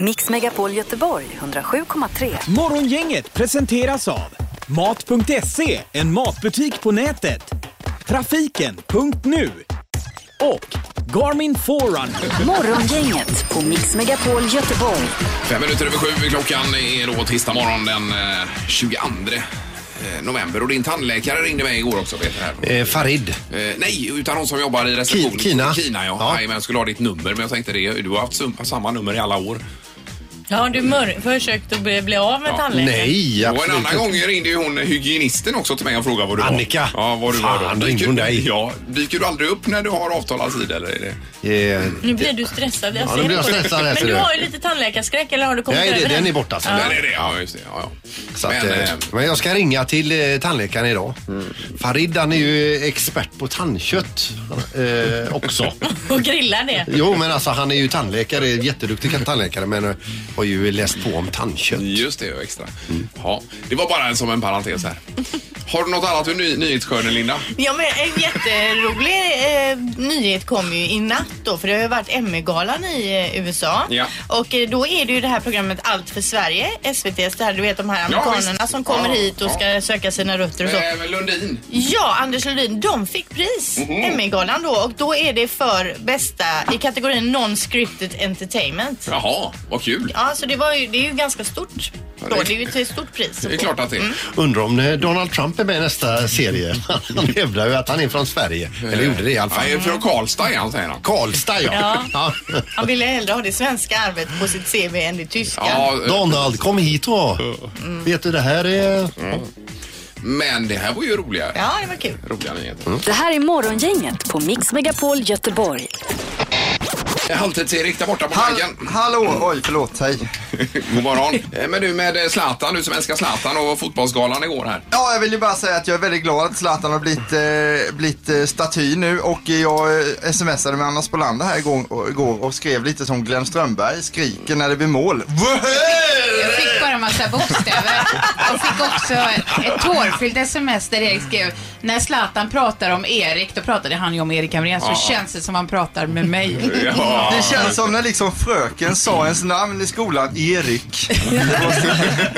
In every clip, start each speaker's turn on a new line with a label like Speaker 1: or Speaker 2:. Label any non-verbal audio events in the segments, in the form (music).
Speaker 1: Mix Megapol Göteborg 107,3.
Speaker 2: Morgongänget presenteras av Mat.se, en matbutik på nätet. Trafiken.nu och Garmin Forerunner.
Speaker 1: Morgongänget på Mix Megapol Göteborg.
Speaker 3: Fem minuter över sju klockan är då tisdag morgon den eh, 22 eh, november. Och din tandläkare ringde mig igår också Peter. Här.
Speaker 4: Eh, Farid.
Speaker 3: Eh, nej, utan hon som jobbar i receptionen.
Speaker 4: Ki- Kina.
Speaker 3: Kina ja.
Speaker 4: Ja.
Speaker 3: Nej, men jag skulle ha ditt nummer. Men jag tänkte det, du har haft sum- samma nummer i alla år.
Speaker 5: Har du mör- försökt att bli, bli av med tandläkaren?
Speaker 4: Nej,
Speaker 3: Och en
Speaker 4: absolut
Speaker 3: annan
Speaker 4: inte.
Speaker 3: gång ringde ju hon hygienisten också till mig och frågade vad du
Speaker 4: Annika.
Speaker 3: var. Ja, vad du var
Speaker 4: Fan, ringde hon dig?
Speaker 3: Ja, dyker du aldrig upp när du har avtalad tid eller? Är det?
Speaker 4: Eh,
Speaker 5: Nu blir du stressad. Jag
Speaker 4: Ja,
Speaker 5: ser
Speaker 4: nu blir jag
Speaker 5: det på dig.
Speaker 4: stressad här, ser
Speaker 5: Men du
Speaker 4: du.
Speaker 5: har ju lite tandläkarskräck eller har du kommit
Speaker 4: Nej, det-
Speaker 5: över
Speaker 4: den är borta sen.
Speaker 3: Nej, det är det. Ja, just det. Ja, ja.
Speaker 4: så att,
Speaker 3: men,
Speaker 4: eh,
Speaker 3: eh, Mm.
Speaker 4: men jag ska ringa till eh, tandläkaren idag. Farid han är ju expert på tandkött eh, också.
Speaker 5: Och grillar det.
Speaker 4: Jo men alltså han är ju tandläkare, jätteduktig tandläkare men eh, har ju läst på om tandkött.
Speaker 3: Just det, och extra.
Speaker 4: Mm.
Speaker 3: Ja, det var bara en- som en parentes här. Har du något annat ur ny, nyhetsskörden, Linda?
Speaker 6: Ja, men en jätterolig eh, nyhet kom ju i natt då för det har ju varit ME-galan i eh, USA.
Speaker 3: Ja.
Speaker 6: Och eh, då är det ju det här programmet Allt för Sverige, SVT's, det här, du vet de här
Speaker 3: Ja,
Speaker 6: amerikanerna
Speaker 3: visst.
Speaker 6: som kommer
Speaker 3: Ja,
Speaker 6: hit och ska söka sina rötter och så.
Speaker 3: Eh, Lundin.
Speaker 6: Ja, Anders Lundin, de fick pris,
Speaker 3: Mhm.
Speaker 6: ME-galan då och då är det för bästa i kategorin Non-scripted entertainment. Ja.
Speaker 3: Jaha, vad kul.
Speaker 6: så det, var ju, det är ju ganska stort. Då. Det är ju ett stort pris.
Speaker 3: Det är klart att det är.
Speaker 4: Undrar om eh, Donald Trump är med i nästa serie. (laughs) Han hävdar ju att han är från Sverige. Eller gjorde det i alla fall.
Speaker 3: Nej, från Karlstad är han, säger han.
Speaker 4: Karlstad ja. ja.
Speaker 6: Han ville hellre ha det svenska arvet på sitt CV än det tyska.
Speaker 3: Ja, eh,
Speaker 4: Donald kom hit då. Vet du det här är...
Speaker 3: men det här var ju roliga,
Speaker 6: ja det var kul.
Speaker 3: roliga nyheter. Mm.
Speaker 1: Det här är Morgongänget på Mix Megapol Göteborg.
Speaker 3: Eh, Halvtids-Erik där borta på
Speaker 7: Hall
Speaker 3: vägen.
Speaker 7: hallå, oj förlåt, hej.
Speaker 3: (laughs) God morgon. Eh, Men du med eh, Zlatan, du som älskar Zlatan och fotbollsgalan igår här.
Speaker 7: Ja, jag vill ju bara säga att jag är väldigt glad att Zlatan har blivit, eh, blivit eh, staty nu och jag eh, smsade med Anna Spolander här igår, igår och skrev lite som Glenn Strömberg skriker när det blir mål.
Speaker 8: Jag fick bara en massa bokstäver. Jag fick också ett tårfyllt sms där Erik skrev, när Zlatan pratar om Erik, då pratade han ju om Erik Hamrén, så
Speaker 3: Ja.
Speaker 8: känns det som han pratar med mig.
Speaker 3: Ja.
Speaker 7: Det känns som när liksom fröken sa ens namn i skolan, Erik.
Speaker 3: (laughs)
Speaker 7: Det var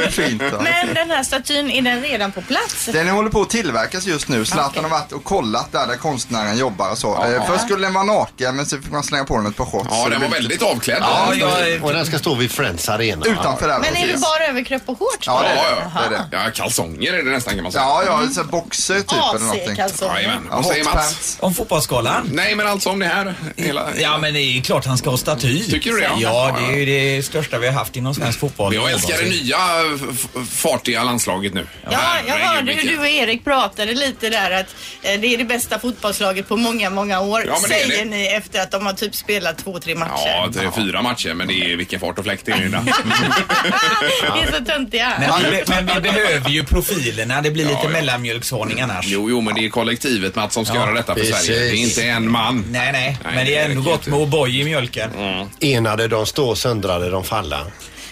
Speaker 7: så fint. Ja.
Speaker 6: Men den här statyn, är den redan på plats?
Speaker 7: Den håller på att tillverkas just nu. Zlatan har varit och kollat där, där konstnären jobbar och så. Eh, först skulle den vara naken men så fick man slänga på den ett par shorts.
Speaker 3: Ja,
Speaker 7: Så
Speaker 3: den
Speaker 7: det
Speaker 3: var
Speaker 7: blev-
Speaker 3: väldigt avklädd.
Speaker 7: Ja, jag-
Speaker 4: Och den ska stå vid Friends Arena.
Speaker 7: Utanför där.
Speaker 6: Men är det
Speaker 7: precis.
Speaker 6: bara överkropp och shorts?
Speaker 7: Ja,
Speaker 3: Ja,
Speaker 7: det är det.
Speaker 3: ja,
Speaker 7: det, är det.
Speaker 3: ja. kalsonger är det nästan kan man säga.
Speaker 7: Ja, ja, så här boxer typ eller någonting.
Speaker 6: AC-kalsonger.
Speaker 3: Jajamän.
Speaker 7: Ja,
Speaker 3: Vad säger
Speaker 7: hot
Speaker 3: Mats?
Speaker 7: pants.
Speaker 2: Om fotbollsskalan?
Speaker 3: Nej, men alltså om det här. Hela,
Speaker 2: Ja men det är klart han ska ha staty.
Speaker 3: Tycker du det?
Speaker 2: Ja, det är ju det största vi har haft inom svensk fotboll.
Speaker 3: Men jag älskar det nya f- f- fartiga landslaget nu.
Speaker 6: Ja, jag hörde hur
Speaker 3: Herregud,
Speaker 6: du och Erik pratade lite där att eh, det är det bästa fotbollslaget på många, många år.
Speaker 3: Ja, men det är
Speaker 6: säger
Speaker 3: det.
Speaker 6: ni efter att de har typ spelat två, tre matcher.
Speaker 3: Ja, tre, fyra matcher, men det är vilken fart och fläkt det är Linda.
Speaker 6: (laughs) det är så töntiga.
Speaker 2: Men vi, be- men vi behöver ju profilerna. Det blir lite
Speaker 3: ja.
Speaker 2: mellanmjölkshonung annars.
Speaker 3: Jo, jo, men det är kollektivet Mats som ska göra detta för
Speaker 4: Precis.
Speaker 3: Sverige. Det är inte en man.
Speaker 2: Nej, nej,
Speaker 3: Nej,
Speaker 2: men det är
Speaker 3: det
Speaker 2: ändå
Speaker 3: räcker
Speaker 2: gott
Speaker 3: inte. Mm.
Speaker 2: med O'boy i mjölken.
Speaker 4: Enade de står, söndrade de falla.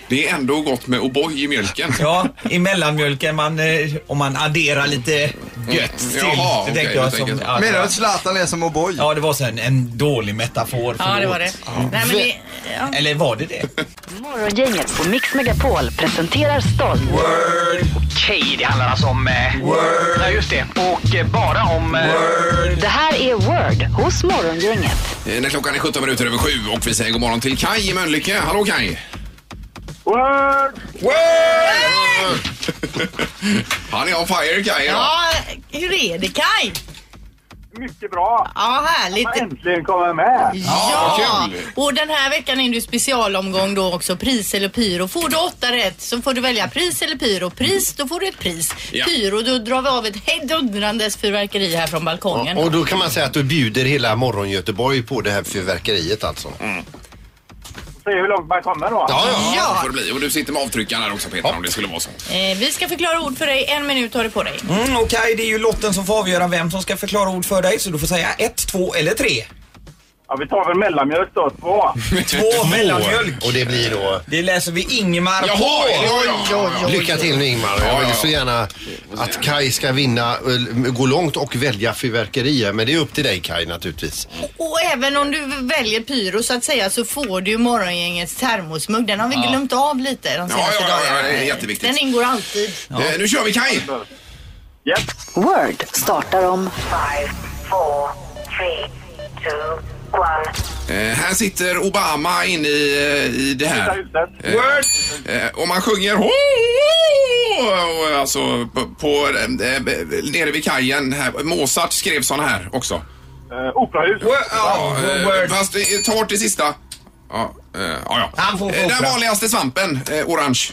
Speaker 3: Det är ändå gott med O'boy i mjölken.
Speaker 2: Ja, i mellanmjölken man, eh, om man adderar lite gött till.
Speaker 3: Mm. Jaha,
Speaker 2: det
Speaker 3: okej,
Speaker 2: tänker
Speaker 3: du
Speaker 2: jag
Speaker 3: tänker
Speaker 2: som,
Speaker 3: så.
Speaker 2: ja,
Speaker 7: Menar
Speaker 2: det
Speaker 7: du
Speaker 2: var-
Speaker 7: att Zlatan är som O'boy?
Speaker 2: ja, det var så en, en dålig metafor.
Speaker 6: Ja, det var det.
Speaker 2: förlåt.
Speaker 6: Nej, men det ja.
Speaker 2: Eller var det det?
Speaker 1: Morgongänget på Mix Megapol presenterar stolt.
Speaker 9: Okej, det handlar alltså om... Eh, Word. Ja, just det. Och eh, bara om... Eh,
Speaker 1: Det här är Word hos Morgongänget.
Speaker 3: Eh, När klockan är 17 minuter över sju och vi säger god morgon till Kai i Mölnlycke. Hallå Kai! Word! (laughs) Han är on fire Kai idag.
Speaker 6: ja, hur är det Kaj?
Speaker 10: Mycket bra!
Speaker 6: Ja, härligt.
Speaker 10: Äntligen kommer jag med!
Speaker 3: Ja,
Speaker 6: Ja,
Speaker 3: vad kul.
Speaker 6: och den här veckan är det ju specialomgång då också, pris eller pyro. Får du åtta rätt så får du välja pris eller pyro. Pris, då får du ett pris.
Speaker 3: Ja.
Speaker 6: Pyro, då drar vi av ett hejdundrandes fyrverkeri här från balkongen.
Speaker 4: Och då kan man säga att du bjuder hela morgon Göteborg på det här fyrverkeriet alltså.
Speaker 10: Se hur långt man kommer då.
Speaker 3: Ja, ja,
Speaker 6: Ja.
Speaker 3: det får det bli. Och du sitter med avtryckaren här också Peter om det skulle vara så.
Speaker 6: Eh, vi ska förklara ord för dig. En minut har du på dig.
Speaker 2: Mm, Okej, det är ju lotten som får avgöra vem som ska förklara ord för dig så du får säga ett, två eller tre.
Speaker 10: Ja, vi tar väl mellanmjölk
Speaker 3: (laughs)
Speaker 10: då, två.
Speaker 2: Två mellanmjölk.
Speaker 4: Och det blir då...
Speaker 2: Det läser vi Ingmar
Speaker 3: Jaha!
Speaker 2: på.
Speaker 3: ja, ja, ja, ja.
Speaker 4: Lycka till nu Ingmar.
Speaker 3: Ja,
Speaker 4: Jag
Speaker 3: ja.
Speaker 4: vill så gärna att Kai ska vinna, eh, gå långt och välja fyrverkerier. Men det är upp till dig Kai naturligtvis.
Speaker 6: Och även om du väljer pyro så att säga så får du ju morgongängets termosmugg. Den har vi glömt av lite de senaste
Speaker 3: ja, ja, ja,
Speaker 6: dagarna.
Speaker 3: det är jätteviktigt.
Speaker 6: Den ingår alltid.
Speaker 3: Eh, Nu kör vi Kaj!
Speaker 10: Japp.
Speaker 1: Word startar om
Speaker 3: Eh, Här sitter Obama inne i, eh, i det
Speaker 10: Titta
Speaker 3: här.
Speaker 10: huset.
Speaker 3: Word! Eh, Och man sjunger ho, ho, ho, och Alltså på, på eh, nere vid kajen här. Mozart skrev sån här också.
Speaker 10: Eh, operahus.
Speaker 2: Word, ja,
Speaker 3: Eh,
Speaker 2: word.
Speaker 3: Fast eh, ta bort det sista. Ja, eh, ja, ja.
Speaker 2: Han får få
Speaker 3: Eh, Den
Speaker 2: opera.
Speaker 3: vanligaste svampen, eh, orange.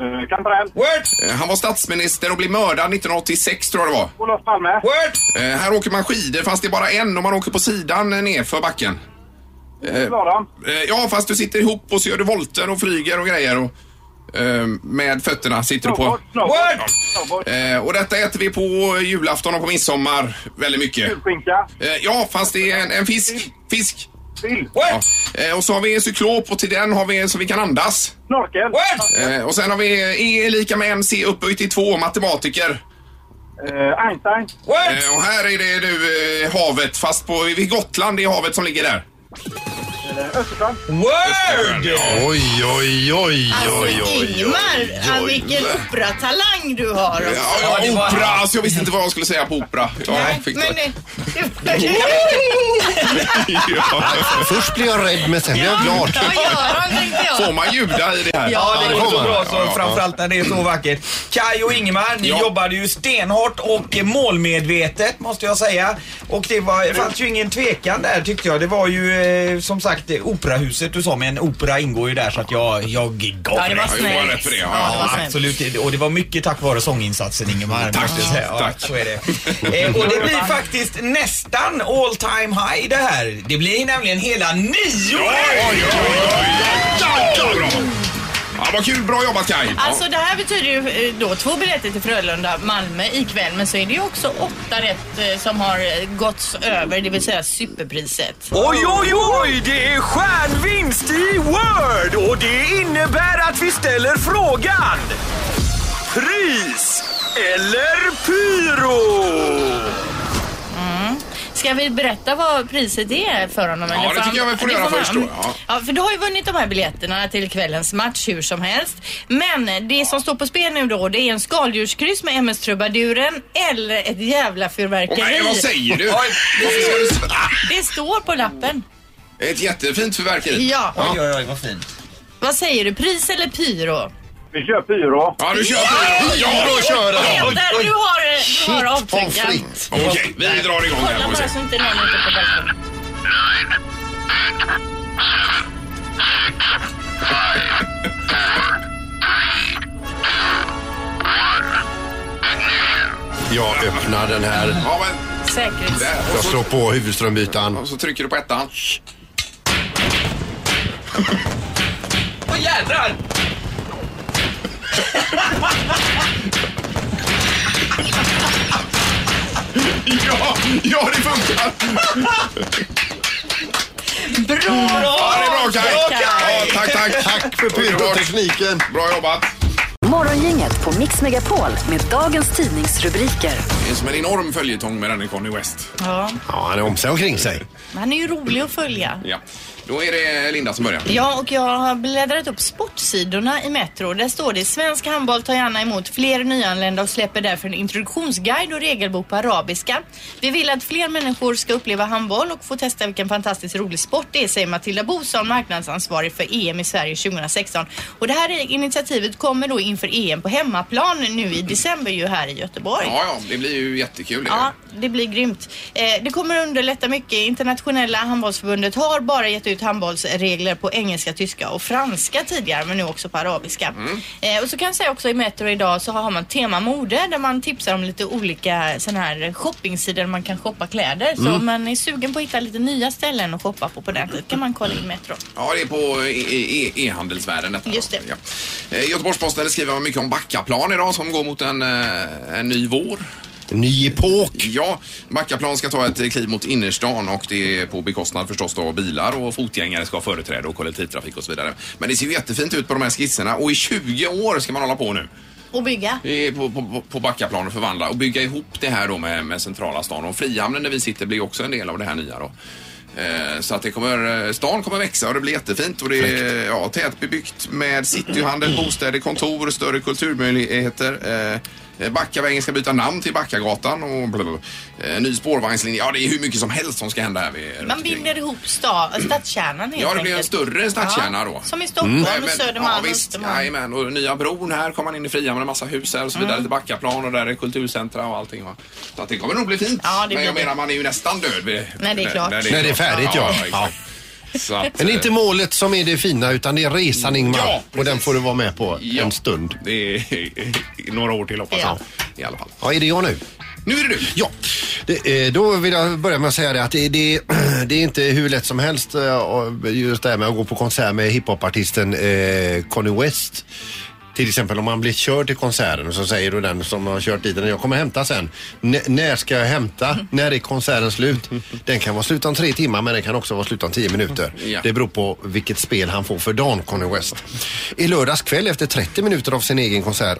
Speaker 10: Eh, kantarell.
Speaker 2: Word,
Speaker 3: Eh, Han var statsminister och blev mördad 1986 tror jag det var.
Speaker 10: Olof Palme.
Speaker 2: word.
Speaker 3: Eh, Här åker man skidor fast det är bara en och man åker på sidan eh, nerför backen.
Speaker 10: Slalom.
Speaker 3: Eh, Ja, fast du sitter ihop och så gör du volter och flyger och grejer. Och, eh, med fötterna sitter du på.
Speaker 10: Snowboard. Snowboard.
Speaker 2: Word.
Speaker 10: Snowboard.
Speaker 3: Eh, och detta äter vi på julafton och på midsommar väldigt mycket.
Speaker 10: Julskinka.
Speaker 3: Eh, ja, fast det är en, en fisk. Fisk.
Speaker 10: Sill.
Speaker 3: Ja. Eh, och så har vi en cyklop och till den har vi en så vi kan andas.
Speaker 10: Snorkel.
Speaker 3: Eh, och sen har vi E är lika med MC upphöjt till två matematiker.
Speaker 10: Eh, Einstein.
Speaker 3: Eh, och här är det nu eh, havet fast på vid Gotland, det är havet som ligger där.
Speaker 10: Eh, Östersjön.
Speaker 2: Word!
Speaker 4: Oj, oj, oj, oj,
Speaker 6: Alltså
Speaker 4: oj.
Speaker 6: Ingmar, ah, vilken operatalang du har.
Speaker 3: Ja, ja,
Speaker 2: Ja, det var-
Speaker 3: opera! Alltså jag visste inte vad jag skulle säga på opera. Ja, jag fick (laughs)
Speaker 6: Men
Speaker 3: det.
Speaker 6: eh, du...
Speaker 3: Ja.
Speaker 4: Först blir jag rädd men sen blir jag glad.
Speaker 6: Vad gör han tänkte jag.
Speaker 3: Får man ljuda i det här?
Speaker 2: Ja, det går så bra så,
Speaker 3: Ja, ja.
Speaker 2: framförallt när det är så vackert. Kai och Ingmar, ni
Speaker 3: Ja.
Speaker 2: jobbade ju stenhårt och målmedvetet måste jag säga. Och det var, det fanns ju ingen tvekan där tyckte jag. Det var ju eh, som sagt eh, operahuset du sa, men opera ingår ju där så att jag, jag gav
Speaker 6: Ja, det var
Speaker 2: dig.
Speaker 3: Ja, Johan har rätt för det. Ja,
Speaker 6: det var
Speaker 2: Ja,
Speaker 6: snällt.
Speaker 2: absolut. Och det var mycket tack vare sånginsatsen Ingemar.
Speaker 3: Tack,
Speaker 2: måste jag säga. Ja,
Speaker 3: tack.
Speaker 2: Så är det. Eh, och det blir faktiskt nästan all time high det här. Det blir nämligen hela nio
Speaker 3: Oj,
Speaker 2: rätt!
Speaker 3: oj, oj, oj, oj, oj. Ja, vad kul. Bra jobbat Kaj. Ja.
Speaker 6: Alltså det här betyder ju eh, då två biljetter till Frölunda, Malmö ikväll. Men så är det ju också åtta rätt eh, som har eh, gåtts över, det vill säga superpriset.
Speaker 9: Oj, oj, oj! Det är stjärnvinst i Word och det innebär att vi ställer frågan. Pris eller pyro?
Speaker 6: Ska vi berätta vad priset är för honom?
Speaker 3: Ja, det
Speaker 6: För
Speaker 3: tycker jag vi får
Speaker 6: det
Speaker 3: göra
Speaker 6: man-
Speaker 3: först då, ja.
Speaker 6: Ja, för du har ju vunnit de här biljetterna till kvällens match hur som helst. Men det som står på spel nu då, det är en skaldjurskryss med MS Trubaduren eller ett jävla fyrverkeri.
Speaker 3: Nej, vad säger du?
Speaker 2: Oj,
Speaker 3: Varför ska du-
Speaker 6: det står på lappen.
Speaker 3: Ah, Ett jättefint förverkeri.
Speaker 6: Ja,
Speaker 2: Oj, oj, oj, vad fint.
Speaker 6: vad säger du? Pris eller pyro?
Speaker 10: Vi kör pyro.
Speaker 3: Ja, du kör på. Ja, då kör
Speaker 6: Peter,
Speaker 3: jag.
Speaker 6: du har, du har
Speaker 4: Pommes
Speaker 6: avtryckaren.
Speaker 4: frites.
Speaker 3: Okej, vi drar igång här.
Speaker 6: Kolla
Speaker 3: får vi se.
Speaker 6: bara så inte någon är ute på balkongen.
Speaker 4: Jag öppnar den här.
Speaker 3: Ja, men
Speaker 6: Säkerhets...
Speaker 3: där. Och
Speaker 4: Jag
Speaker 3: så,
Speaker 4: slår på huvudströmbytaren.
Speaker 3: och så trycker du på
Speaker 6: (laughs)
Speaker 3: ettan.
Speaker 2: Åh jädrar!
Speaker 3: (laughs) Ja, ja det funkar.
Speaker 6: Bra!
Speaker 3: Ja, det är bra Kaj.
Speaker 6: Bra,
Speaker 3: Ja,
Speaker 6: Kaj.
Speaker 3: tack, tack.
Speaker 4: Tack för pyrotekniken.
Speaker 3: Bra jobbat.
Speaker 1: Morgongänget på Mix Megapol med dagens tidningsrubriker.
Speaker 3: Det är som en enorm följetong med denne Conny West.
Speaker 6: Ja,
Speaker 4: Ja, han är om sig omkring sig.
Speaker 6: han är ju rolig att följa.
Speaker 3: Ja. Då är det Linda som börjar.
Speaker 6: Ja, och jag har bläddrat upp sportsidorna i Metro. Där står det svensk handboll tar gärna emot fler nyanlända och släpper därför en introduktionsguide och regelbok på arabiska. Vi vill att fler människor ska uppleva handboll och få testa vilken fantastiskt rolig sport det är, säger Matilda Boson, marknadsansvarig för EM i Sverige 2016. Och det här initiativet kommer då inför EM på hemmaplan nu i december ju här i Göteborg.
Speaker 3: Ja, ja, det blir ju jättekul. det.
Speaker 6: Ja, det blir grymt. Eh, det kommer underlätta mycket. Internationella handbollsförbundet har bara gett ut handbollsregler på engelska, tyska och franska tidigare, men nu också på arabiska.
Speaker 3: Mm.
Speaker 6: Eh, och så kan jag säga också i Metro idag så har man tema mode där man tipsar om lite olika sådana här shoppingsidor där man kan shoppa kläder. Så
Speaker 3: Mm.
Speaker 6: om man är sugen på att hitta lite nya ställen att shoppa på på nätet kan man kolla in Metro.
Speaker 3: Ja, det är på e- e- e- e-handelsvärlden detta.
Speaker 6: Just det.
Speaker 3: Ja. Eh, Göteborgs-Posten skriver mycket om Backaplan idag som går mot en, eh, en ny vår.
Speaker 4: Ny epok.
Speaker 3: Ja, Backaplan ska ta ett eh, kliv mot innerstan och det är på bekostnad förstås då av bilar och fotgängare ska ha företräde och kollektivtrafik och så vidare. Men det ser ju jättefint ut på de här skisserna och i 20 år ska man hålla på nu.
Speaker 6: Och bygga.
Speaker 3: Det är på, på, på Backaplan och förvandla och bygga ihop det här då med, med centrala stan. Och Frihamnen där vi sitter blir också en del av det här nya då. Eh, Så att det kommer, eh, stan kommer växa och det blir jättefint. Och det är ja, tätbebyggt med cityhandel, bostäder, kontor, större kulturmöjligheter. Eh, Backavägen ska byta namn till Backagatan och blablabla. Eh, ny spårvagnslinje. Ja, det är hur mycket som helst som ska hända här. Vid, runt
Speaker 6: Man
Speaker 3: omkring.
Speaker 6: binder ihop sta, stadskärnan helt
Speaker 3: Ja, det blir en
Speaker 6: enkelt.
Speaker 3: större stadskärna
Speaker 6: Ja,
Speaker 3: då.
Speaker 6: Som i Stockholm
Speaker 3: Mm. Nej,
Speaker 6: och
Speaker 3: men- ja,
Speaker 6: Södermalm och
Speaker 3: visst.
Speaker 6: Östermalm. Mm.
Speaker 3: Jajamän, och nya bron här kommer man in i Frihamn med en massa hus här och så vidare till Backaplan och där är kulturcentra och allting va. Så att det kommer nog bli fint.
Speaker 6: Ja, det
Speaker 3: men jag
Speaker 6: blir det.
Speaker 3: menar man är ju nästan död. Vid,
Speaker 6: Nej, det är klart.
Speaker 4: När det är färdigt, ja.
Speaker 3: exakt. Så att,
Speaker 4: Men det
Speaker 3: eh,
Speaker 4: är inte målet som är det fina utan det är resan Ingmar.
Speaker 3: Ja,
Speaker 4: och den får du vara med på
Speaker 3: eh, Ja.
Speaker 4: en stund.
Speaker 3: Det är (laughs) några år till hoppas jag.
Speaker 6: Ja.
Speaker 3: I alla fall.
Speaker 4: Ja, är det jag nu?
Speaker 3: Nu är det du.
Speaker 4: Ja, det, eh, då vill jag börja med att säga det att det, det, (clears throat) det är inte hur lätt som helst eh, och just det här med att gå på konsert med hiphopartisten eh, Conny West. Till exempel om man blir körd till konserten och så säger då den som har kört dit den, jag kommer hämta sen. N- när ska jag hämta? När är konserten slut? Den kan vara slut om tre timmar men den kan också vara slut om tio minuter.
Speaker 3: Ja.
Speaker 4: Det beror på vilket spel han får för dagen, Conny West. I lördags kväll efter 30 minuter av sin egen konsert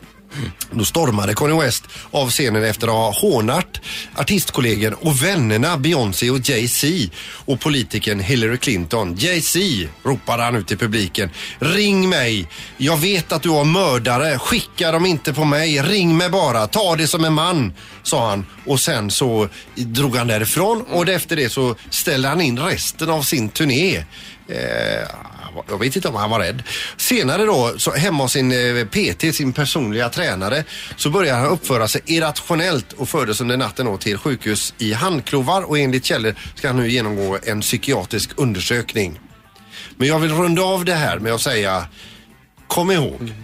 Speaker 4: då stormade Kanye West av scenen efter att ha hånat artistkollegen och vännerna Beyoncé och Jay-Z och politikern Hillary Clinton. Jay-Z ropade han ut till publiken. Ring mig! Jag vet att du har mördare. Skicka dem inte på mig. Ring mig bara. Ta det som en man, sa han. Och sen så drog han därifrån och efter det så ställde han in resten av sin turné. Eh, han var- Jag vet inte om han var rädd. Senare då, så hemma hos sin eh, PT, sin personliga tränare, så började han uppföra sig irrationellt och fördes under natten då till sjukhus i handklovar och enligt källor ska han nu genomgå en psykiatrisk undersökning. Men jag vill runda av det här med att säga, kom ihåg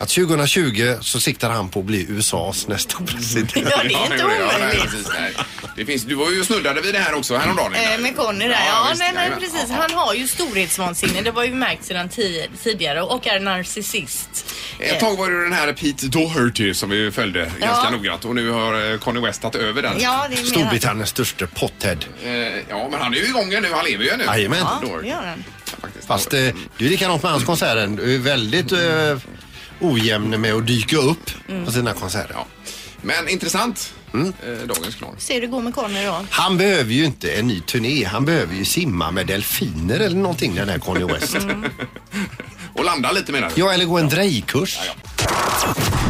Speaker 4: att 2020 så siktar han på att bli USAs nästa president.
Speaker 6: Ja, det är inte
Speaker 3: gjorde jag. Nej,
Speaker 6: omöjligt.
Speaker 3: precis, nej. det finns, du var ju och snuddade vid det här också häromdagen. Linda.
Speaker 6: Eh, Med Conny där. Ja,
Speaker 3: visst,
Speaker 6: nej, nej,
Speaker 3: jajamän.
Speaker 6: precis.
Speaker 3: Ja,
Speaker 6: Han har ju storhetsvansinne. Det var ju märkt sedan ti- tidigare och är narcissist.
Speaker 3: Ett tag var det den här Pete Doherty som vi följde ganska noggrant och nu har eh, Conny West tagit över den.
Speaker 6: Ja, det är mer...
Speaker 4: Storbritanniens största pothead.
Speaker 3: Eh, ja, men han är ju igång nu. Han lever ju nu.
Speaker 4: Jajamän.
Speaker 6: Ja,
Speaker 3: Doherty.
Speaker 6: det gör han.
Speaker 3: Faktiskt.
Speaker 4: Fast eh, det är likadant med hans konserter. Du är väldigt eh, ojämn med att dyka upp på sina konserter.
Speaker 3: Ja. Men intressant.
Speaker 4: Mm.
Speaker 3: Eh, dagens knorr.
Speaker 6: Se hur det går med Conny då.
Speaker 4: Han behöver ju inte en ny turné. Han behöver ju simma med delfiner eller någonting den här Kanye West.
Speaker 3: Och landa lite menar du?
Speaker 4: Ja, eller gå en drejkurs.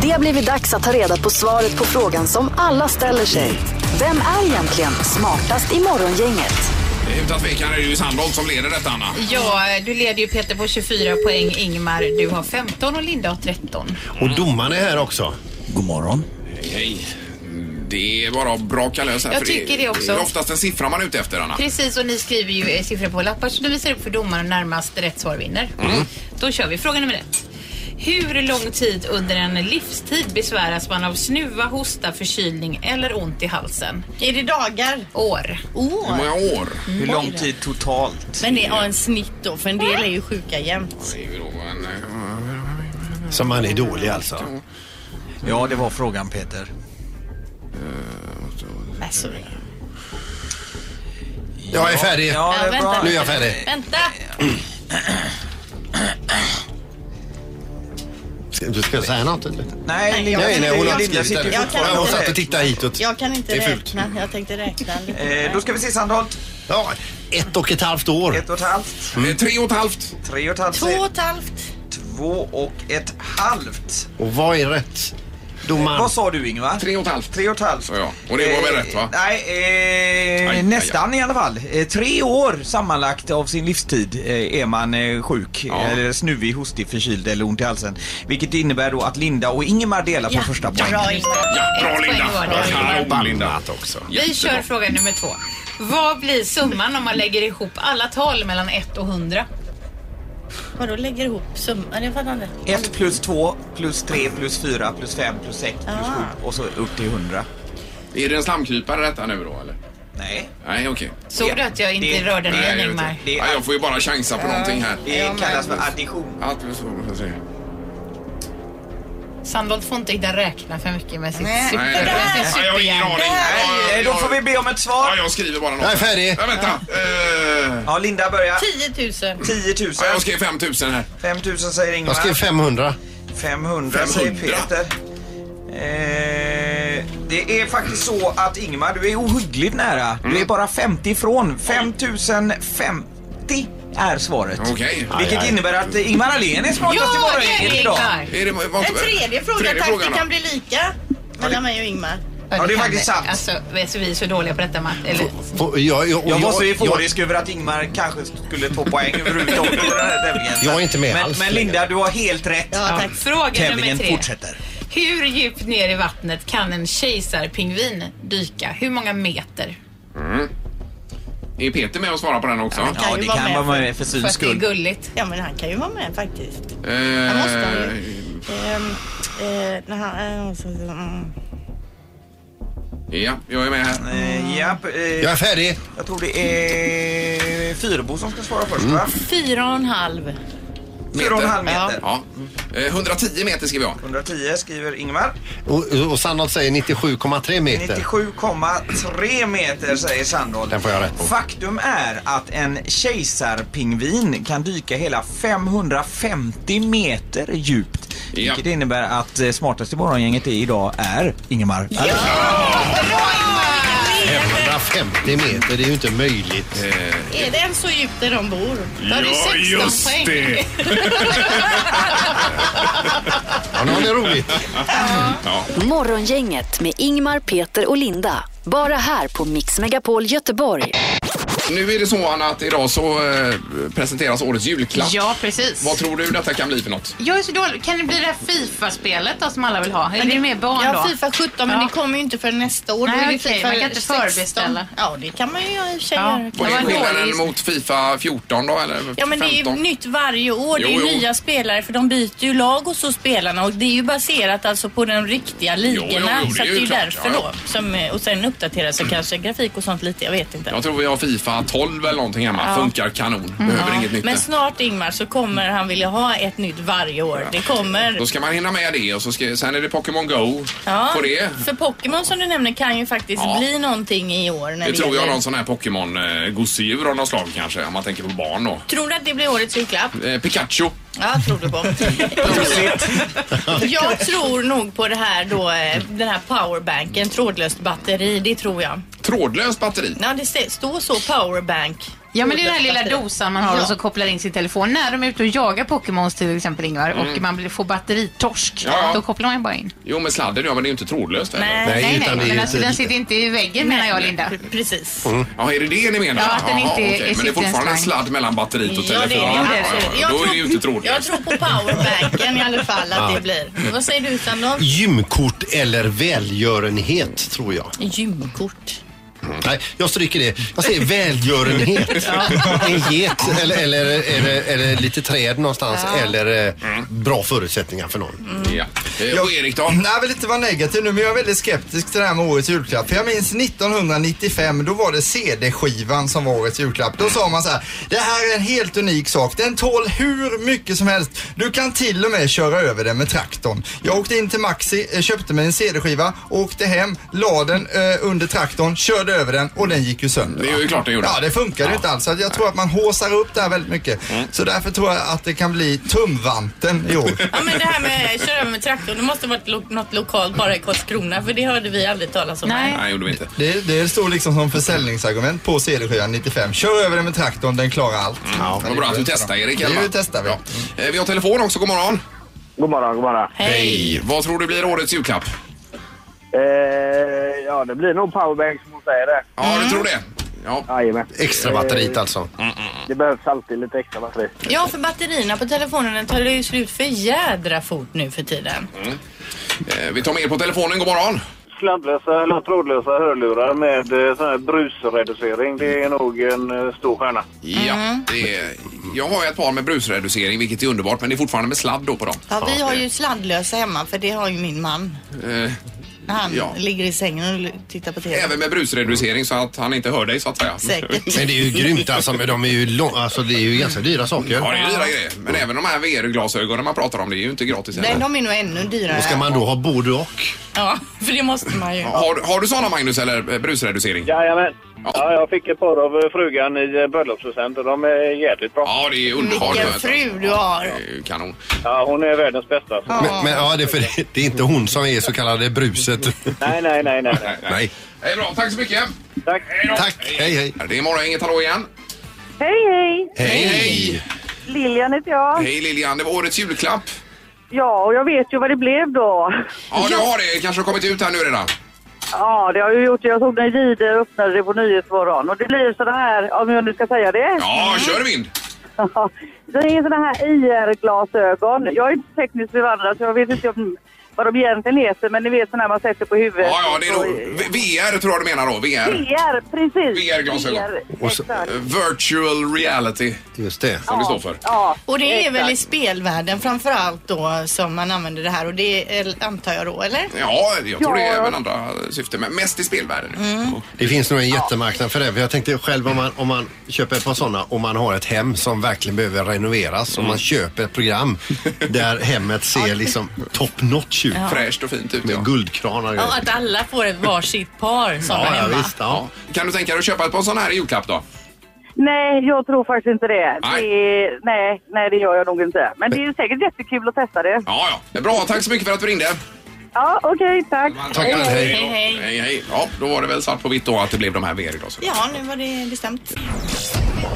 Speaker 1: Det har blivit dags att ta reda på svaret på frågan som alla ställer sig. Vem är egentligen smartast i morgongänget?
Speaker 3: Eh, Utan tvekan är det ju Sandholt som leder detta, Anna.
Speaker 8: Ja, du leder ju Peter på 24 poäng. Ingmar, du har 15 och Linda har 13.
Speaker 4: Och domaren är här också.
Speaker 2: God morgon.
Speaker 3: Hej, hej. Mm, Det är bara att braka lös här.
Speaker 8: Jag
Speaker 3: för
Speaker 8: tycker det också.
Speaker 3: Det är oftast en siffra man är ute efter, Anna.
Speaker 8: Precis, och ni skriver ju eh, siffror på lappar så du visar upp för domaren närmast rätt svar vinner. Mm. Då kör vi fråga nummer ett. Hur lång tid under en livstid besväras man av snuva, hosta, förkylning eller ont i halsen?
Speaker 6: Är det dagar?
Speaker 8: År.
Speaker 3: Hur
Speaker 6: År.
Speaker 3: många år?
Speaker 2: Hur lång tid totalt?
Speaker 6: Men det är ja, en snitt då, för en del är ju sjuka jämt.
Speaker 3: Det är ju då en... eh,
Speaker 4: Som han är dålig alltså.
Speaker 2: Ja, det var frågan Peter.
Speaker 6: Nej, sorry.
Speaker 4: Jag är färdig.
Speaker 2: Ja,
Speaker 6: Ja,
Speaker 2: det är bra.
Speaker 6: vänta.
Speaker 4: Nu är jag färdig.
Speaker 6: Vänta!
Speaker 4: Ska- Du ska säga något? eller?
Speaker 2: Nej, Linda,
Speaker 4: Nej, nej, hon har
Speaker 2: Linda
Speaker 4: inte skrivit
Speaker 2: sitter ju
Speaker 4: det.
Speaker 6: Jag kan
Speaker 2: fortfarande
Speaker 4: Ja, Hon
Speaker 6: inte.
Speaker 4: satt och tittade hitåt.
Speaker 6: Jag kan inte
Speaker 4: Det är fult.
Speaker 6: räkna. Jag tänkte räkna lite.
Speaker 2: Eh, då ska vi se Sandholt.
Speaker 4: Ja, ett och ett halvt år.
Speaker 2: Ett och ett halvt.
Speaker 4: Mm.
Speaker 3: eh, Tre och ett halvt.
Speaker 2: Tre och ett halvt.
Speaker 6: Två och ett halvt.
Speaker 2: Två och ett halvt.
Speaker 4: Och vad är rätt? Domaren.
Speaker 2: Vad sa du Ingvar?
Speaker 3: Tre och ett halvt.
Speaker 2: Tre och ett halvt.
Speaker 3: Ja, ja. Och det var väl rätt, va?
Speaker 2: Nej, eh,
Speaker 3: Aj,
Speaker 2: nästan i alla fall. Eh, tre år sammanlagt av sin livstid eh, är man eh, sjuk.
Speaker 3: Ja.
Speaker 2: Eller snuvig, hostig, förkyld eller ont i halsen. Vilket innebär då att Linda och Ingemar delar på första poängen.
Speaker 6: Bra Ingmar.
Speaker 3: Ja, bra
Speaker 8: Ett poäng
Speaker 3: Linda.
Speaker 8: var det.
Speaker 3: Kanon Linda.
Speaker 4: också.
Speaker 8: Vi kör
Speaker 3: Jättebra.
Speaker 8: fråga nummer två. Vad blir summan om man lägger ihop alla tal mellan 1 och 100?
Speaker 6: Vadå lägger ihop summan? Jag fattar inte.
Speaker 2: Ett plus två plus tre plus fyra plus fem plus sex plus sju och så upp till hundra.
Speaker 3: Är det en slamkrypare detta nu då eller?
Speaker 2: Nej.
Speaker 3: Nej, okej.
Speaker 8: Såg
Speaker 2: Ja,
Speaker 8: du att jag inte
Speaker 2: det-
Speaker 8: rörde
Speaker 3: Nej,
Speaker 8: den
Speaker 3: jag, vet
Speaker 8: Ingmar?
Speaker 3: inte.
Speaker 2: Det är-
Speaker 3: Nej, jag får ju bara chansa på någonting här.
Speaker 2: Det kallas för addition.
Speaker 3: Allt blir så, får jag se.
Speaker 8: Sandholt får inte hitta räkna för mycket med sitt
Speaker 6: Nej.
Speaker 8: super...
Speaker 3: Nej,
Speaker 8: med sin
Speaker 3: jag har ingen
Speaker 8: superhjärna.
Speaker 3: aning. Ja,
Speaker 2: Eh, Då får vi be om ett
Speaker 3: Ja,
Speaker 2: svar.
Speaker 3: jag skriver bara något.
Speaker 4: Jag är färdig.
Speaker 3: Ja, vänta. Eh,
Speaker 2: Ja, Linda börjar.
Speaker 8: 10 000.
Speaker 2: 10 000.
Speaker 3: ja, jag skrev 5 000 här.
Speaker 2: 5 000 säger
Speaker 4: Jag skrev
Speaker 2: Ingmar.
Speaker 4: 500.
Speaker 2: 500 säger
Speaker 3: 500.
Speaker 2: Peter. Eh, det är faktiskt så att Ingmar, du är ohyggligt nära. Du är bara 50 ifrån. 5050 är svaret.
Speaker 3: Okej.
Speaker 2: Vilket innebär att eh, Ingmar Ahlén är smartast i morgongänget
Speaker 8: det är
Speaker 2: idag.
Speaker 8: klart.
Speaker 3: Är det, vad,
Speaker 6: En tredje fråga
Speaker 3: tredje
Speaker 6: tack,
Speaker 3: frågan
Speaker 6: det
Speaker 3: då?
Speaker 6: kan bli lika mellan mig och Ingmar.
Speaker 2: Ja, det är
Speaker 8: kan
Speaker 2: faktiskt
Speaker 8: vi.
Speaker 2: sant.
Speaker 8: Alltså, vi är så- vi är så dåliga på detta, Matt. Eller,
Speaker 4: Och Jag, jag, och
Speaker 2: Jag var så
Speaker 4: jag-
Speaker 2: euforisk över att Ingmar kanske skulle ta poäng överhuvudtaget i den här tävlingen.
Speaker 4: Jag är inte med
Speaker 2: men,
Speaker 4: alls
Speaker 2: Men Linda, du har helt rätt.
Speaker 6: Ja,
Speaker 8: ja,
Speaker 6: tack.
Speaker 8: fråga nummer
Speaker 2: Tävlingen
Speaker 8: tre.
Speaker 2: fortsätter.
Speaker 8: Hur djupt ner i vattnet kan en kejsarpingvin dyka? Hur många meter?
Speaker 3: Är Peter med och svarar på den också?
Speaker 6: Ja,
Speaker 2: Ja,
Speaker 6: ju
Speaker 2: det
Speaker 6: vara
Speaker 2: kan
Speaker 6: med
Speaker 2: vara med för
Speaker 8: För
Speaker 2: syns
Speaker 8: att det är
Speaker 2: skull.
Speaker 8: gulligt.
Speaker 6: Ja, men han kan ju vara med faktiskt.
Speaker 3: Eh,
Speaker 6: Han måste han ju. Ehm, eh, när han, eh, så- så- mm.
Speaker 3: ja, jag är med här.
Speaker 2: Eh, japp, eh,
Speaker 4: jag är färdig.
Speaker 2: Jag tror det är Fyrebo som ska svara först va?
Speaker 6: Fyra och en halv.
Speaker 2: Fyra och en halv meter.
Speaker 3: Ja. Eh, 110 meter skriver jag.
Speaker 2: 110 skriver Ingmar.
Speaker 4: Och, och Sandholt säger 97,3 meter.
Speaker 2: 97,3 meter säger Sandholt.
Speaker 4: Den får jag rätt på.
Speaker 2: Faktum är att en kejsarpingvin kan dyka hela 550 meter djupt.
Speaker 3: Ja.
Speaker 2: Vilket innebär att eh, smartaste morgongänget i idag är Ingemar. Ja.
Speaker 4: 550 meter, det är ju inte möjligt.
Speaker 6: Är det än så djupt där de bor?
Speaker 8: Då har du 16 poäng.
Speaker 4: Ja, nu har ni roligt.
Speaker 1: Morgongänget med Ingmar, Peter och Linda. Bara här på Mix Megapol Göteborg.
Speaker 3: Nu är det så Anna att idag så eh, presenteras årets julklapp.
Speaker 8: Ja, precis.
Speaker 3: Vad tror du detta kan bli för något?
Speaker 8: Jag är så dålig. Kan det bli det här Fifa-spelet då som alla vill ha? Är det mer barn
Speaker 6: Ja,
Speaker 8: då?
Speaker 6: Fifa 17 men
Speaker 8: Ja.
Speaker 6: det kommer ju inte för nästa år. Då
Speaker 8: Nej,
Speaker 6: är det
Speaker 8: okej,
Speaker 6: FIFA
Speaker 8: man kan inte
Speaker 6: 16.
Speaker 8: förbeställa.
Speaker 6: Ja, det kan man ju i och för sig
Speaker 8: Ja.
Speaker 6: göra.
Speaker 8: Det
Speaker 3: Vad
Speaker 8: var
Speaker 3: är
Speaker 8: en
Speaker 3: skillnaden
Speaker 8: dålig
Speaker 3: mot Fifa 14 då eller 15?
Speaker 6: Ja men det är ju nytt varje år. det är
Speaker 3: Jo,
Speaker 6: ju
Speaker 3: jo.
Speaker 6: nya spelare för de byter ju lag och så spelarna och det är ju baserat alltså på de riktiga ligorna.
Speaker 3: jo, det
Speaker 6: så
Speaker 3: är
Speaker 6: att det
Speaker 3: ju
Speaker 6: är ju
Speaker 3: klart.
Speaker 6: därför
Speaker 3: Ja,
Speaker 6: då. Som, eh, och sen uppdateras så kanske grafik och sånt lite, jag vet inte.
Speaker 3: Jag tror vi har Fifa 12 eller någonting hemma. Funkar kanon. Behöver inget nytt.
Speaker 6: Mm. Men snart Ingmar så kommer han vilja ha ett nytt varje år. Det kommer.
Speaker 3: Då ska man hinna med det och så ska, sen är det Pokémon Go
Speaker 6: Ja,
Speaker 3: på det.
Speaker 6: För Pokémon som du nämner kan ju faktiskt
Speaker 3: Ja.
Speaker 6: bli någonting i år. När
Speaker 3: Det tror jag
Speaker 6: gäller-
Speaker 3: någon sån här Pokémon-gosedjur av något slag kanske. Om man tänker på barn då.
Speaker 6: Tror du att det blir årets julklapp?
Speaker 3: Eh, Pikachu.
Speaker 6: Ja, tror
Speaker 3: (laughs)
Speaker 6: du på. jag tror nog på det här då, eh, den här powerbanken, trådlöst batteri, det tror jag.
Speaker 3: Trådlöst batteri.
Speaker 6: Ja, det st- står så powerbank.
Speaker 8: Ja men det är den här lilla
Speaker 6: Batteri.
Speaker 8: dosan man har
Speaker 6: Ja.
Speaker 8: och så kopplar in sin telefon. När de är ute och jagar Pokémons till exempel Ingvar och man blir- får batteritorsk.
Speaker 3: Ja.
Speaker 8: Då kopplar man bara in.
Speaker 3: Jo men sladden ja men det är ju inte trådlöst. eller?
Speaker 6: Nej.
Speaker 4: Nej,
Speaker 8: Nej, nej,
Speaker 4: utan det är
Speaker 8: men
Speaker 4: ju
Speaker 8: alltså, den
Speaker 4: inte...
Speaker 8: sitter inte i väggen menar jag Linda.
Speaker 6: Pre- Precis.
Speaker 3: Ja är det det ni menar?
Speaker 8: Ja, att den
Speaker 3: Jaha,
Speaker 8: inte
Speaker 3: okej. Men
Speaker 8: är-
Speaker 3: det är
Speaker 8: sitter
Speaker 3: fortfarande
Speaker 8: en
Speaker 3: en
Speaker 8: slang.
Speaker 3: sladd mellan batteriet och
Speaker 6: Ja, det är det.
Speaker 3: telefonen.
Speaker 6: Ja, det är det. Jag
Speaker 3: Då är
Speaker 6: tror-
Speaker 3: det ju inte
Speaker 6: Jag
Speaker 3: trådlöst.
Speaker 6: tror på powerbanken i alla fall att det blir. Vad säger du Sandon?
Speaker 4: Gymkort eller välgörenhet, tror jag.
Speaker 6: Gymkort.
Speaker 4: Nej, jag stryker det. Jag säger välgörenhet. En get eller, eller, eller, eller lite träd någonstans eller eh, bra förutsättningar för någon.
Speaker 3: Ja. Eh, Och Erik då?
Speaker 7: Nej, jag vill inte vara negativ nu, men jag är väldigt skeptisk till det här med årets julklapp. För jag minns 1995, då var det CD-skivan som var årets julklapp. Då sa man så här, det här är en helt unik sak. Den tål hur mycket som helst. Du kan till och med köra över den med traktorn. Jag åkte in till Maxi, eh, köpte mig en CD-skiva, åkte hem, la den eh, under traktorn, körde över den och den gick ju sönder.
Speaker 3: Det är ju klart den gjorde.
Speaker 7: Ja, Mm. det funkar ju inte alls. Så Jag tror att man håsar upp det här väldigt mycket. Så därför tror jag att det kan bli tumvanten i år.
Speaker 6: Ja men det här med att köra med traktorn, det måste varit lo- något lokalt bara i Karlskrona för det hörde vi aldrig talas om.
Speaker 8: Nej.
Speaker 3: Nej gjorde vi inte.
Speaker 7: Det, det står liksom som försäljningsargument på CD-skivan 95. Kör över den med traktorn, den klarar allt. Mm. Ja,
Speaker 3: Vad bra att du testar Erik. i alla
Speaker 7: Det
Speaker 3: fall.
Speaker 7: ju testar vi.
Speaker 3: Ja. Eh, Vi har telefon också, god morgon.
Speaker 10: God morgon, god morgon.
Speaker 6: Hej!
Speaker 3: Vad tror du blir årets julklapp?
Speaker 10: Eh, ja, det blir nog powerbank som hon säger det.
Speaker 3: Ja,
Speaker 6: Mm.
Speaker 3: du tror det? Ja.
Speaker 10: Jajamän.
Speaker 4: Extra batteriet alltså.
Speaker 10: Det behövs alltid lite extra batteri.
Speaker 6: Ja för batterierna på telefonen tar det ju slut för jädra fort nu för tiden.
Speaker 3: Eh, Vi tar med er på telefonen, god morgon.
Speaker 10: Sladdlösa eller trådlösa hörlurar med eh, sån här brusreducering, det är nog en eh, stor stjärna.
Speaker 6: Mm.
Speaker 3: Ja, det är, jag har ju ett par med brusreducering vilket är underbart men det är fortfarande med sladd då på dem.
Speaker 6: Ja vi har ju sladdlösa hemma för det har ju min man.
Speaker 3: Eh,
Speaker 6: när han
Speaker 3: Ja.
Speaker 6: ligger i sängen och l- tittar på TV.
Speaker 3: Även med brusreducering så att han inte hör dig så att säga.
Speaker 6: Säkert.
Speaker 4: Men det är ju grymt alltså. men De är ju lång, alltså det är ju ganska dyra saker.
Speaker 3: Ja, det är dyra grejer. Men även de här VR-glasögonen man pratar om, det är ju inte gratis
Speaker 6: Nej,
Speaker 3: heller.
Speaker 6: de är nog ännu dyrare.
Speaker 4: Och ska man då ha både och?
Speaker 5: Ja, för det måste man ju.
Speaker 3: Har, har du sådana Magnus, eller eh, brusreducering?
Speaker 10: Jajamän.
Speaker 3: Ja.
Speaker 10: Ja, jag fick ett par av eh, frugan i eh, bröllopspresent och de är jävligt bra.
Speaker 3: Ja, det är underbart.
Speaker 6: Vilken
Speaker 3: skönt,
Speaker 6: fru
Speaker 3: alltså.
Speaker 6: du har.
Speaker 3: Det är ju kanon.
Speaker 10: Ja, hon är världens bästa. Så.
Speaker 4: Men, men ja, det är, för det, det är inte hon som är så kallade bruset.
Speaker 10: Nej, nej, nej, nej. nej.
Speaker 4: Nej.
Speaker 3: Det är bra, tack så mycket.
Speaker 10: Tack.
Speaker 4: Tack, hej hej.
Speaker 3: Det är morgon, inget hallå igen.
Speaker 11: Hej, hej!
Speaker 4: Hej,
Speaker 3: Hej.
Speaker 11: Lilian heter jag.
Speaker 3: Hej Lilian, det var årets julklapp.
Speaker 11: Ja, och jag vet ju vad det blev då.
Speaker 3: Ja, du har det. Kanske har kommit ut här nu redan.
Speaker 11: Ja, det har jag ju gjort. Jag såg den i Gide och eh, öppnade det på Nyhetsmorgon. Och det blir sådana här, om jag nu ska säga det.
Speaker 3: Ja, kör vind.
Speaker 11: (laughs) det är sådana här IR-glasögon. Jag är inte tekniskt bevandrad så jag vet inte om vad de egentligen heter. Men ni vet sådana här man sätter på huvudet.
Speaker 3: Ja, ja, det är nog
Speaker 11: Och-
Speaker 3: V- VR tror jag du menar då. VR.
Speaker 11: VR, precis.
Speaker 3: VR-glasögon.
Speaker 11: VR,
Speaker 4: Och så-
Speaker 11: exakt.
Speaker 3: Eh, Virtual reality,
Speaker 4: Just det.
Speaker 3: som det står för.
Speaker 11: Ja,
Speaker 6: Och det är väl i
Speaker 11: exakt.
Speaker 6: spelvärlden framför allt då som man använder det här och det är, eh, antar jag då, eller?
Speaker 3: Ja, jag tror det är
Speaker 11: Ja.
Speaker 3: även andra syften, men mest i spelvärlden. Ja.
Speaker 4: Det finns nog en jättemarknad för det. För jag tänkte själv om man, om man köper ett par sådana och man har ett hem som verkligen behöver renoveras och man köper ett program där hemmet ser liksom top notch ut.
Speaker 3: Fräscht och fint ut, ja.
Speaker 4: Med guldkranar och
Speaker 5: Ja,
Speaker 4: grejer.
Speaker 5: att alla får ett varsitt par som
Speaker 4: Ja, ja,
Speaker 5: hemma.
Speaker 4: visst. Ja.
Speaker 3: Kan du tänka dig att köpa ett par sådana här i julklapp då?
Speaker 11: Nej, jag tror faktiskt inte det.
Speaker 3: Nej.
Speaker 11: Det, nej, nej, det gör jag nog inte. Men det är säkert jättekul att testa det.
Speaker 3: Ja, ja. Bra, tack så mycket för att du ringde.
Speaker 11: Ja, okej, tack.
Speaker 4: Tack, hej.
Speaker 5: Hej, hej.
Speaker 3: Hej, hej. Ja, då var det väl svart på vitt då att det blev de här VR-glasögonen.
Speaker 6: Ja, nu var det bestämt.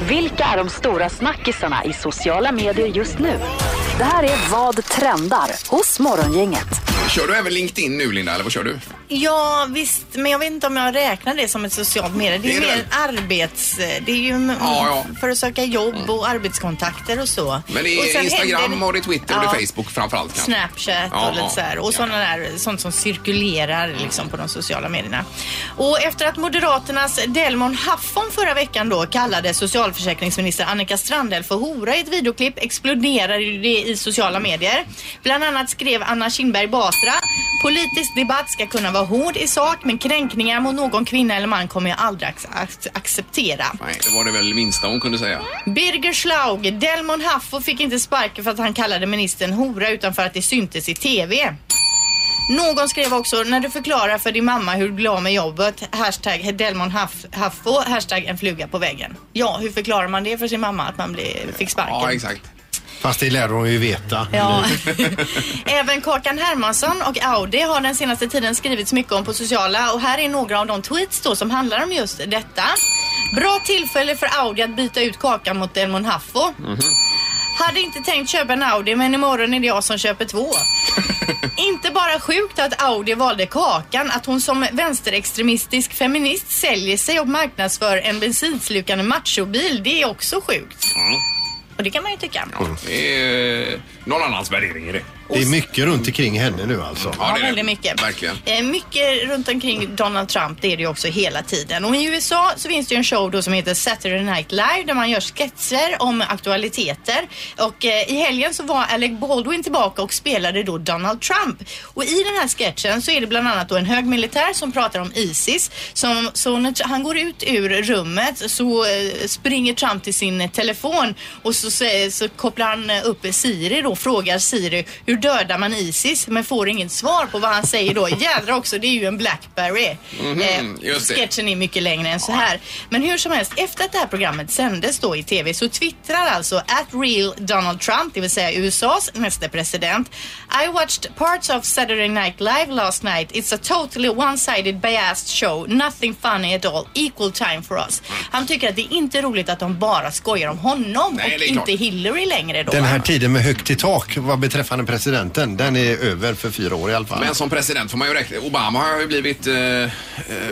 Speaker 1: Vilka är de stora snackisarna i sociala medier just nu? Det här är Vad trendar hos Morgongänget.
Speaker 3: Kör du även LinkedIn nu, Linda, eller vad kör du?
Speaker 6: Ja, visst, men jag vet inte om jag räknar det som ett socialt medie. Det är,
Speaker 3: Det är
Speaker 6: mer arbets... Det är ju mm,
Speaker 3: Ja, ja.
Speaker 6: för att söka jobb och arbetskontakter och så.
Speaker 3: Men det
Speaker 6: och
Speaker 3: är
Speaker 6: sen
Speaker 3: Instagram
Speaker 6: händer-
Speaker 3: och det är Twitter och det
Speaker 6: Ja.
Speaker 3: är Facebook framförallt kanske.
Speaker 6: Snapchat
Speaker 3: Ja,
Speaker 6: och lite så här.
Speaker 3: ja. Mm.
Speaker 6: Och sådana där, sånt som cirkulerar liksom på de sociala medierna. Och efter att Moderaternas Delmon Haffon förra veckan då kallade socialförsäkringsminister Annika Strandhäll för hora i ett videoklipp exploderade ju det i sociala medier. Bland annat skrev Anna Kinberg Batra Politisk debatt ska kunna vara hård i sak men kränkningar mot någon kvinna eller man kommer jag aldrig ac- ac- acceptera.
Speaker 3: Nej, det var det väl minsta hon kunde säga.
Speaker 6: Birger Schlaug, Delmon Haffo fick inte sparken för att han kallade ministern hora utan för att det syntes i TV. Någon skrev också, när du förklarar för din mamma hur du blir av med jobbet, hashtag Delmon Haff- Haffo, hashtag en fluga på väggen. Ja, hur förklarar man det för sin mamma att man blir, fick sparken?
Speaker 3: Ja, exakt.
Speaker 4: Fast det lär hon ju veta.
Speaker 6: Ja. (laughs) Även Kakan Hermansson och Audi har den senaste tiden skrivits mycket om på sociala och här är några av de tweets då som handlar om just detta. Bra tillfälle för Audi att byta ut Kakan mot Delmon Haffo. Hade inte tänkt köpa en Audi men imorgon är det jag som köper två. Inte bara sjukt att Audi valde Kakan, att hon som vänsterextremistisk feminist säljer sig och marknadsför en bensinslukande machobil, det är också sjukt. Och det kan man ju tycka.
Speaker 3: Det är eh, någon annans värdering i det.
Speaker 4: Det är mycket runt omkring henne nu alltså.
Speaker 3: Ja,
Speaker 6: Ja,
Speaker 3: det är det.
Speaker 6: väldigt mycket.
Speaker 3: Verkligen.
Speaker 6: Eh, mycket runt omkring Donald Trump, det är det ju också hela tiden. Och i USA så finns det ju en show då som heter Saturday Night Live där man gör sketcher om aktualiteter. Och eh, i helgen så var Alec Baldwin tillbaka och spelade då Donald Trump. Och i den här sketchen så är det bland annat då en hög militär som pratar om ISIS. Som, så när tr- han går ut ur rummet så eh, springer Trump till sin telefon och så, säger- så kopplar han eh, upp Siri då, frågar Siri hur dödar man ISIS men får inget svar på vad han säger då. Jädrar också, det är ju en Blackberry. eh,
Speaker 3: Mhm, just det.
Speaker 6: sketchen är mycket längre än så här. Men hur som helst, efter att det här programmet sändes då i TV så twittrar alltså at real Donald Trump, det vill säga USAs nästa president. I watched parts of Saturday Night Live last night. It's a totally one-sided biased show. Nothing funny at all. Equal time for us.
Speaker 3: Mm.
Speaker 6: Han tycker att det är inte roligt att de bara skojar om honom
Speaker 3: Nej,
Speaker 6: och
Speaker 3: det är klart.
Speaker 6: inte Hillary längre då.
Speaker 4: Den här tiden med högt i tak vad beträffande presidenten, den är över för fyra år i alla fall.
Speaker 3: Men som president får man ju räkna. Obama har ju blivit eh, eh,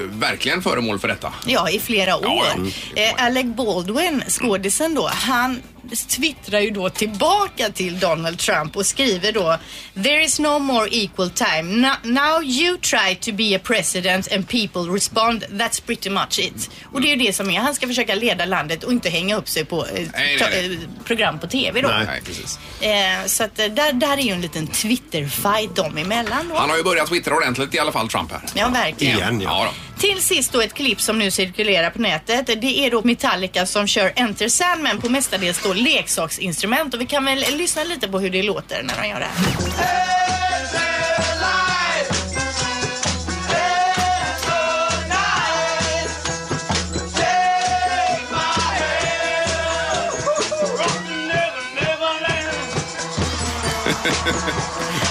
Speaker 3: verkligen föremål för detta.
Speaker 6: Ja, i flera år.
Speaker 3: ja. Mm.
Speaker 6: Eh, Alec Baldwin, skådisen då, han twittrar ju då tillbaka till Donald Trump och skriver då There is no more equal time. No- Now you try to be a president and people respond. That's pretty much it. Och det är ju det som är. Han ska försöka leda landet och inte hänga upp sig på eh,
Speaker 3: nej,
Speaker 6: ta-
Speaker 3: nej.
Speaker 6: eh, program på TV då.
Speaker 4: Nej.
Speaker 3: Nej, precis.
Speaker 6: Eh, Eh, så att eh, där, där är ju en liten Twitter-fight dem emellan då.
Speaker 3: Han har ju börjat twittra ordentligt i alla fall, Trump här.
Speaker 6: Ja, verkligen.
Speaker 3: Igen, ja. då.
Speaker 6: Till sist då ett klipp som nu cirkulerar på nätet. Det är då Metallica som kör Enter Sandman på mestadels då leksaksinstrument och vi kan väl lyssna lite på hur det låter när de gör det här.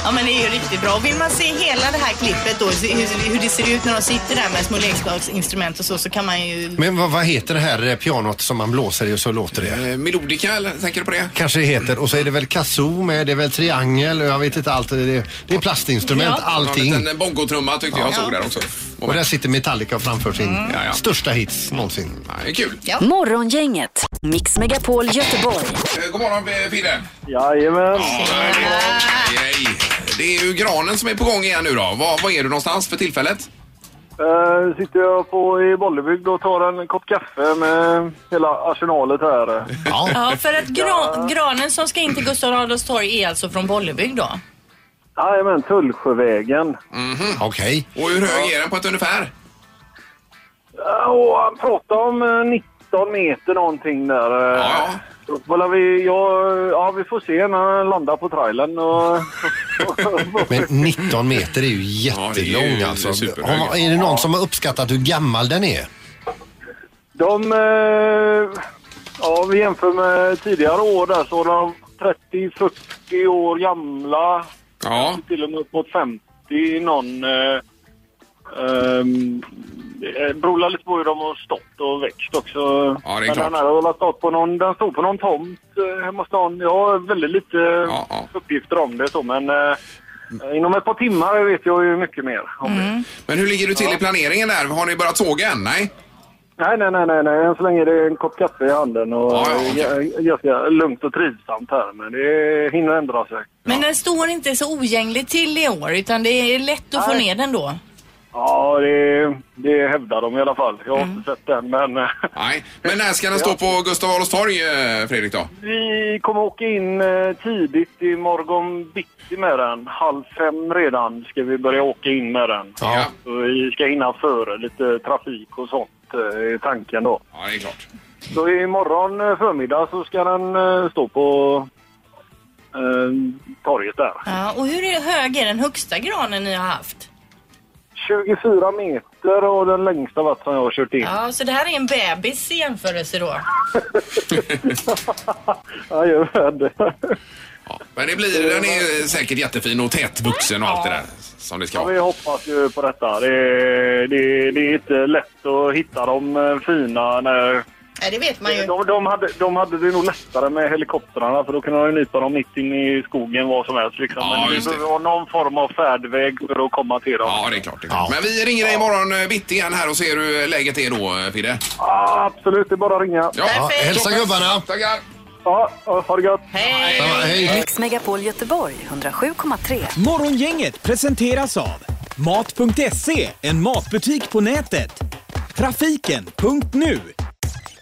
Speaker 6: Ja men det är ju riktigt bra. Och vill man se hela det här klippet då, se hur, hur det ser ut när de sitter där med små leksaksinstrument och så, så kan man ju...
Speaker 4: Men vad, vad heter det här eh, pianot som man blåser i och så låter det?
Speaker 3: Melodika, Eh, eller tänker du på det?
Speaker 4: Kanske det heter. Och så är det väl kazoo med, det är väl triangel och jag vet inte allt. Det är, det är plastinstrument, allting.
Speaker 3: En liten bongotrumma tyckte jag
Speaker 4: Ja.
Speaker 3: såg där också.
Speaker 4: Och där sitter Metallica och framför sin största hits någonsin.
Speaker 3: Det är kul.
Speaker 1: Morgongänget, Mix Megapol Göteborg.
Speaker 3: Eh, God morgon eh, Fidde!
Speaker 10: Jajamän.
Speaker 3: Hej! Det är ju granen som är på gång igen nu då. Var, var är du någonstans för tillfället?
Speaker 10: Eh, sitter jag på i Bollebygd och tar en kopp kaffe med hela arsenalet här.
Speaker 5: Ja, för att gra granen som ska in till Gustav Adolfs torg är alltså från Bollebygd då?
Speaker 10: Jajamän, Tullsjövägen.
Speaker 4: Okej.
Speaker 3: Och hur hög är den på ett ungefär?
Speaker 10: Och han pratade om eh, 19 meter någonting där. Ja. vi, ja, ja, vi får se när han landar på trailern. Och,
Speaker 4: Men 19 meter är ju jättelång
Speaker 3: ju
Speaker 4: alltså.
Speaker 3: superhög.
Speaker 4: Har- Är det någon som har uppskattat hur gammal den är?
Speaker 10: (laughs) de, eh, ja, vi jämför med tidigare år där så de 30-40 år gamla.
Speaker 3: Ja.
Speaker 10: Till och med upp mot 50 någon. Eh, ehm, eh, beror lite på hur de har stått och växt också.
Speaker 3: det är
Speaker 10: Men
Speaker 3: klart.
Speaker 10: den här har väl stått på någon, den stod på någon tomt eh, hemma hos någon. Jag har väldigt lite eh, uppgifter om det så men eh, inom ett par timmar vet jag ju mycket mer om det.
Speaker 3: Men hur ligger du till i planeringen där? Har ni börjat såga än? Nej?
Speaker 10: Nej, nej, nej, nej, nej. Än så länge är det en kopp kaffe i handen och
Speaker 3: Ja, ja,
Speaker 10: eh, ganska lugnt och trivsamt här. Men det hinner ändra sig.
Speaker 5: Men den står inte så ogängligt till i år utan det är lätt att få ner den då.
Speaker 10: Ja, det, det hävdar de i alla fall. Jag har inte sett den, men... eh,
Speaker 3: Nej. Men när ska den stå på Gustav Adolfs torg, eh, Fredrik då?
Speaker 10: Vi kommer åka in eh, tidigt i morgon bitti med den. Halv fem redan ska vi börja åka in med den.
Speaker 3: Ja.
Speaker 10: Så vi ska hinna före lite trafik och sånt, eh, är tanken då.
Speaker 3: Ja, det är klart.
Speaker 10: Så imorgon eh, förmiddag så ska den eh, stå på eh, torget där.
Speaker 6: Ja, och hur är- hög är den högsta granen ni har haft?
Speaker 10: 24 meter och den längsta vatten som jag har kört in. (laughs)
Speaker 6: Ja, så det här är en bebis i jämförelse då.
Speaker 10: Jajamän.
Speaker 3: Men det blir, den är säkert jättefin och tätvuxen och allt det där som det ska
Speaker 10: Ja,
Speaker 3: vara.
Speaker 10: (laughs) vi hoppas ju på detta. Det, är- det, är- det är inte lätt att hitta de eh, fina. När,
Speaker 6: Nej, det vet man ju.
Speaker 10: Eh, de, de, hade, de hade det nog lättare med helikoptrarna för då kunde de nypa dem mitt in i skogen var som helst. Liksom.
Speaker 3: Ja,
Speaker 10: Men vi
Speaker 3: just det.
Speaker 10: behöver ha någon form av färdväg för att komma till dem.
Speaker 3: Ja, det är klart. Det är klart. Men vi ringer dig imorgon eh, bitti igen här och ser hur läget är då, eh, Fidde.
Speaker 10: Ja, absolut, det är bara att ringa.
Speaker 3: Ja. Perfekt. hälsa gubbarna. Tackar.
Speaker 10: Ja, ha det gött.
Speaker 1: Mix Megapol Göteborg 107,3.
Speaker 12: Morgongänget presenteras av Mat.se, en matbutik på nätet. Trafiken.nu